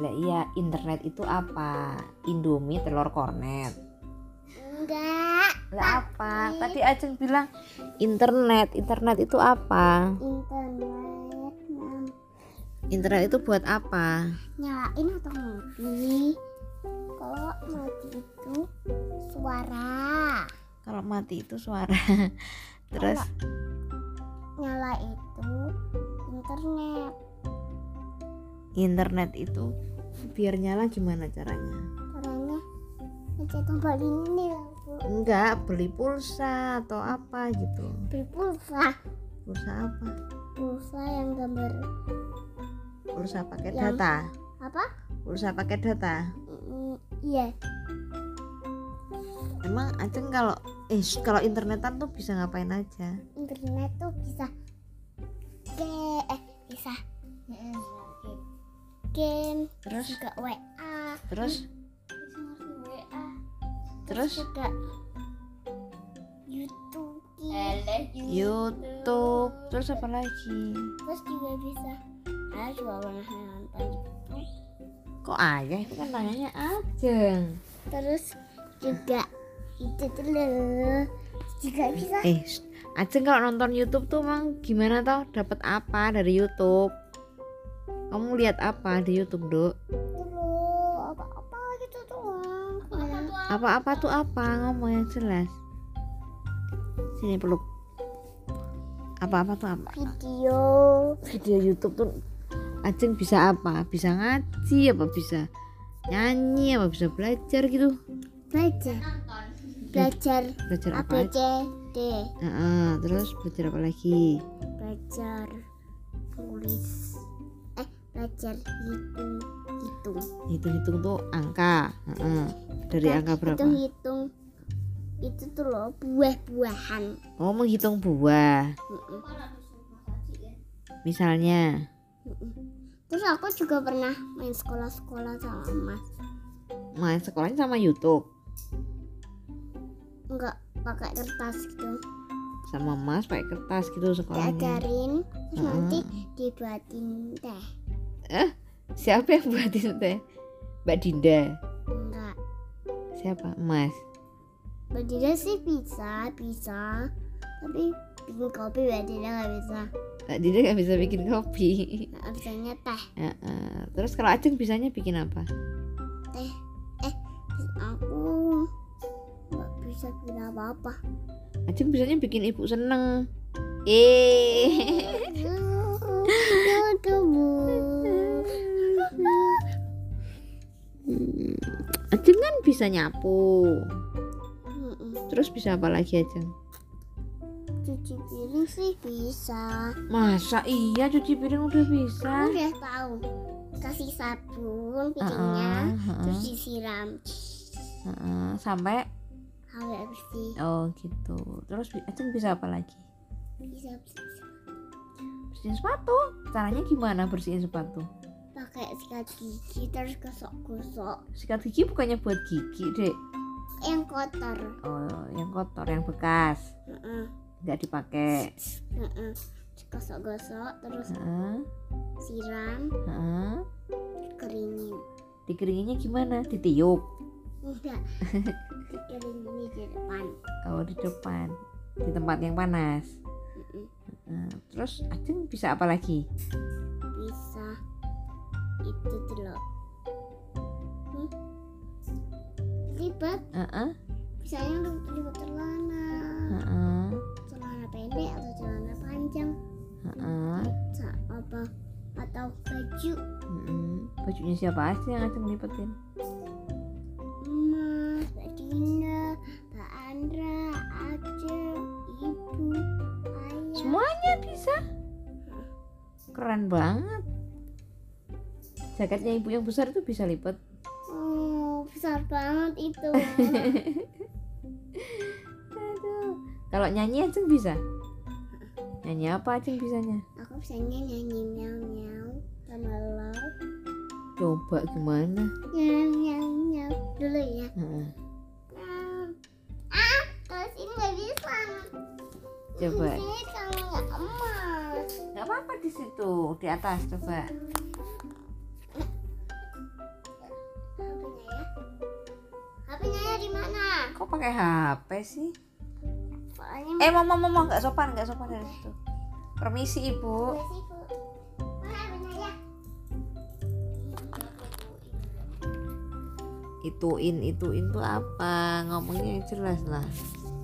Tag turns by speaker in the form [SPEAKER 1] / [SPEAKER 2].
[SPEAKER 1] Lah iya, internet itu apa? Indomie telur kornet.
[SPEAKER 2] Enggak,
[SPEAKER 1] Lah apa? Tadi Ajeng bilang internet. Internet itu apa?
[SPEAKER 2] internet Mam.
[SPEAKER 1] Internet itu buat apa?
[SPEAKER 2] nyalain atau mati. Kalau mati itu suara.
[SPEAKER 1] Kalau mati itu suara. Terus
[SPEAKER 2] Nyala itu internet.
[SPEAKER 1] internet itu biar nyala gimana caranya?
[SPEAKER 2] Caranya ngecek tombol ini loh, Bu.
[SPEAKER 1] Enggak, beli pulsa atau apa gitu.
[SPEAKER 2] Beli pulsa.
[SPEAKER 1] Pulsa apa?
[SPEAKER 2] Pulsa yang gambar
[SPEAKER 1] Pulsa pakai
[SPEAKER 2] Yang-
[SPEAKER 1] data.
[SPEAKER 2] apa?
[SPEAKER 1] Pulsa pakai data.
[SPEAKER 2] Mm, Iya,
[SPEAKER 1] Emang Ajeng kalau eh sh, kalau internetan tuh bisa ngapain aja?
[SPEAKER 2] internet tuh bisa ke eh bisa Mm, game
[SPEAKER 1] Terus
[SPEAKER 2] juga WA
[SPEAKER 1] terus
[SPEAKER 2] terus
[SPEAKER 1] terus
[SPEAKER 2] juga YouTube
[SPEAKER 1] YouTube, terus apa lagi?
[SPEAKER 2] terus juga bisa ada juga pernah nonton
[SPEAKER 1] Kok ayah itu kan nanyanya Ajeng.
[SPEAKER 2] terus juga itu tuh loh juga bisa
[SPEAKER 1] Eh, sh, Ajeng kalau nonton YouTube tuh emang gimana tau dapat apa dari YouTube? Kamu lihat apa di YouTube, Dok?
[SPEAKER 2] itu loh apa apa gitu doang Nah,
[SPEAKER 1] Apa-apa tuh apa? Ngomong yang jelas. Sini peluk. Apa-apa tuh apa?
[SPEAKER 2] video
[SPEAKER 1] video YouTube tuh Ajeng bisa apa? Bisa ngaji apa bisa nyanyi apa bisa belajar gitu?
[SPEAKER 2] belajar belajar
[SPEAKER 1] Belajar
[SPEAKER 2] A B
[SPEAKER 1] apa?
[SPEAKER 2] C D
[SPEAKER 1] Heeh, terus belajar apa lagi?
[SPEAKER 2] belajar tulis eh belajar hitung hitung
[SPEAKER 1] Hitung-hitung tuh angka. Heeh. Dari
[SPEAKER 2] Nah,
[SPEAKER 1] angka berapa?
[SPEAKER 2] itu hitung itu tuh loh buah-buahan
[SPEAKER 1] Oh, menghitung buah.
[SPEAKER 2] Mm-mm.
[SPEAKER 1] Misalnya,
[SPEAKER 2] terus aku juga pernah main sekolah-sekolah sama mas
[SPEAKER 1] main sekolahnya sama YouTube,
[SPEAKER 2] nggak pakai kertas
[SPEAKER 1] Oh,
[SPEAKER 2] gitu
[SPEAKER 1] sama Mas pakai kertas gitu sekolahnya.
[SPEAKER 2] diajarin terus
[SPEAKER 1] Mm-mm.
[SPEAKER 2] nanti dibuatin teh
[SPEAKER 1] Eh, Siapa yang buatin teh? Mbak Dinda.
[SPEAKER 2] enggak
[SPEAKER 1] Siapa? Mas.
[SPEAKER 2] berdiri sih bisa bisa tapi bikin kopi berdiri nggak bisa
[SPEAKER 1] Mbak Dinda nggak bisa bikin kopi.
[SPEAKER 2] nggak bisanya teh
[SPEAKER 1] Heeh. Terus kalau Aceng bisanya bikin apa?
[SPEAKER 2] teh eh aku nggak bisa bikin apa apa
[SPEAKER 1] Aceng bisanya bikin ibu seneng. Eh.
[SPEAKER 2] Aduh, Bu.
[SPEAKER 1] Aceng kan bisa nyapu.
[SPEAKER 2] Mm-mm.
[SPEAKER 1] Terus bisa apa lagi Aceng?
[SPEAKER 2] Cuci piring sih bisa.
[SPEAKER 1] Masa iya cuci piring udah bisa?
[SPEAKER 2] Aku udah tahu. Kasih sabun piringnya, terus disiram.
[SPEAKER 1] sampai
[SPEAKER 2] Agak bersih.
[SPEAKER 1] oh gitu. Terus bi- Aceng bisa apa lagi?
[SPEAKER 2] Bisa bersih.
[SPEAKER 1] Bersihin sepatu. Caranya gimana bersihin sepatu?
[SPEAKER 2] Pakai sikat gigi terus gosok-gosok
[SPEAKER 1] Sikat gigi bukannya buat gigi, Dek.
[SPEAKER 2] yang kotor.
[SPEAKER 1] Oh, yang kotor, yang bekas.
[SPEAKER 2] Mm-mm.
[SPEAKER 1] Nggak dipakai.
[SPEAKER 2] Mm-mm. Gosok-gosok terus
[SPEAKER 1] Eh. Heeh,
[SPEAKER 2] siram,
[SPEAKER 1] heeh.
[SPEAKER 2] keringin.
[SPEAKER 1] dikeringinnya gimana ditiup
[SPEAKER 2] Enggak. Keringin di depan.
[SPEAKER 1] oh di depan di tempat yang panas
[SPEAKER 2] Mm-mm.
[SPEAKER 1] Nah, terus Ajeng bisa apa lagi
[SPEAKER 2] bisa itu tuh loh hmm? ribet
[SPEAKER 1] Heeh,
[SPEAKER 2] misalnya lu beli celana
[SPEAKER 1] heeh,
[SPEAKER 2] celana pendek atau celana panjang
[SPEAKER 1] heeh,
[SPEAKER 2] sa- apa atau baju
[SPEAKER 1] heeh. bajunya siapa aja yang Ajeng lipetin
[SPEAKER 2] emas mbak Dina mbak Andra Ace ibu ayah
[SPEAKER 1] semuanya bisa keren banget jaketnya ibu yang besar itu bisa lipet
[SPEAKER 2] oh besar banget itu
[SPEAKER 1] aduh kalau nyanyi Ajeng bisa nyanyi apa Ajeng bisanya
[SPEAKER 2] aku bisanya nyanyi miau miau sama lo
[SPEAKER 1] coba gimana
[SPEAKER 2] miau miau miau dulu ya
[SPEAKER 1] Heeh.
[SPEAKER 2] Hmm. Ah, terus ini nggak bisa.
[SPEAKER 1] Coba.
[SPEAKER 2] Ini sama nggak emas.
[SPEAKER 1] nggak apa-apa di situ di atas coba
[SPEAKER 2] ya?
[SPEAKER 1] kok pakai HP sih
[SPEAKER 2] Soalnya
[SPEAKER 1] eh mau mau mau mau, nggak sopan nggak sopan dari situ permisi
[SPEAKER 2] Terima
[SPEAKER 1] ibu
[SPEAKER 2] kasih, Bu. Wah, benar ya.
[SPEAKER 1] ituin ituin tuh apa ngomongnya yang jelas lah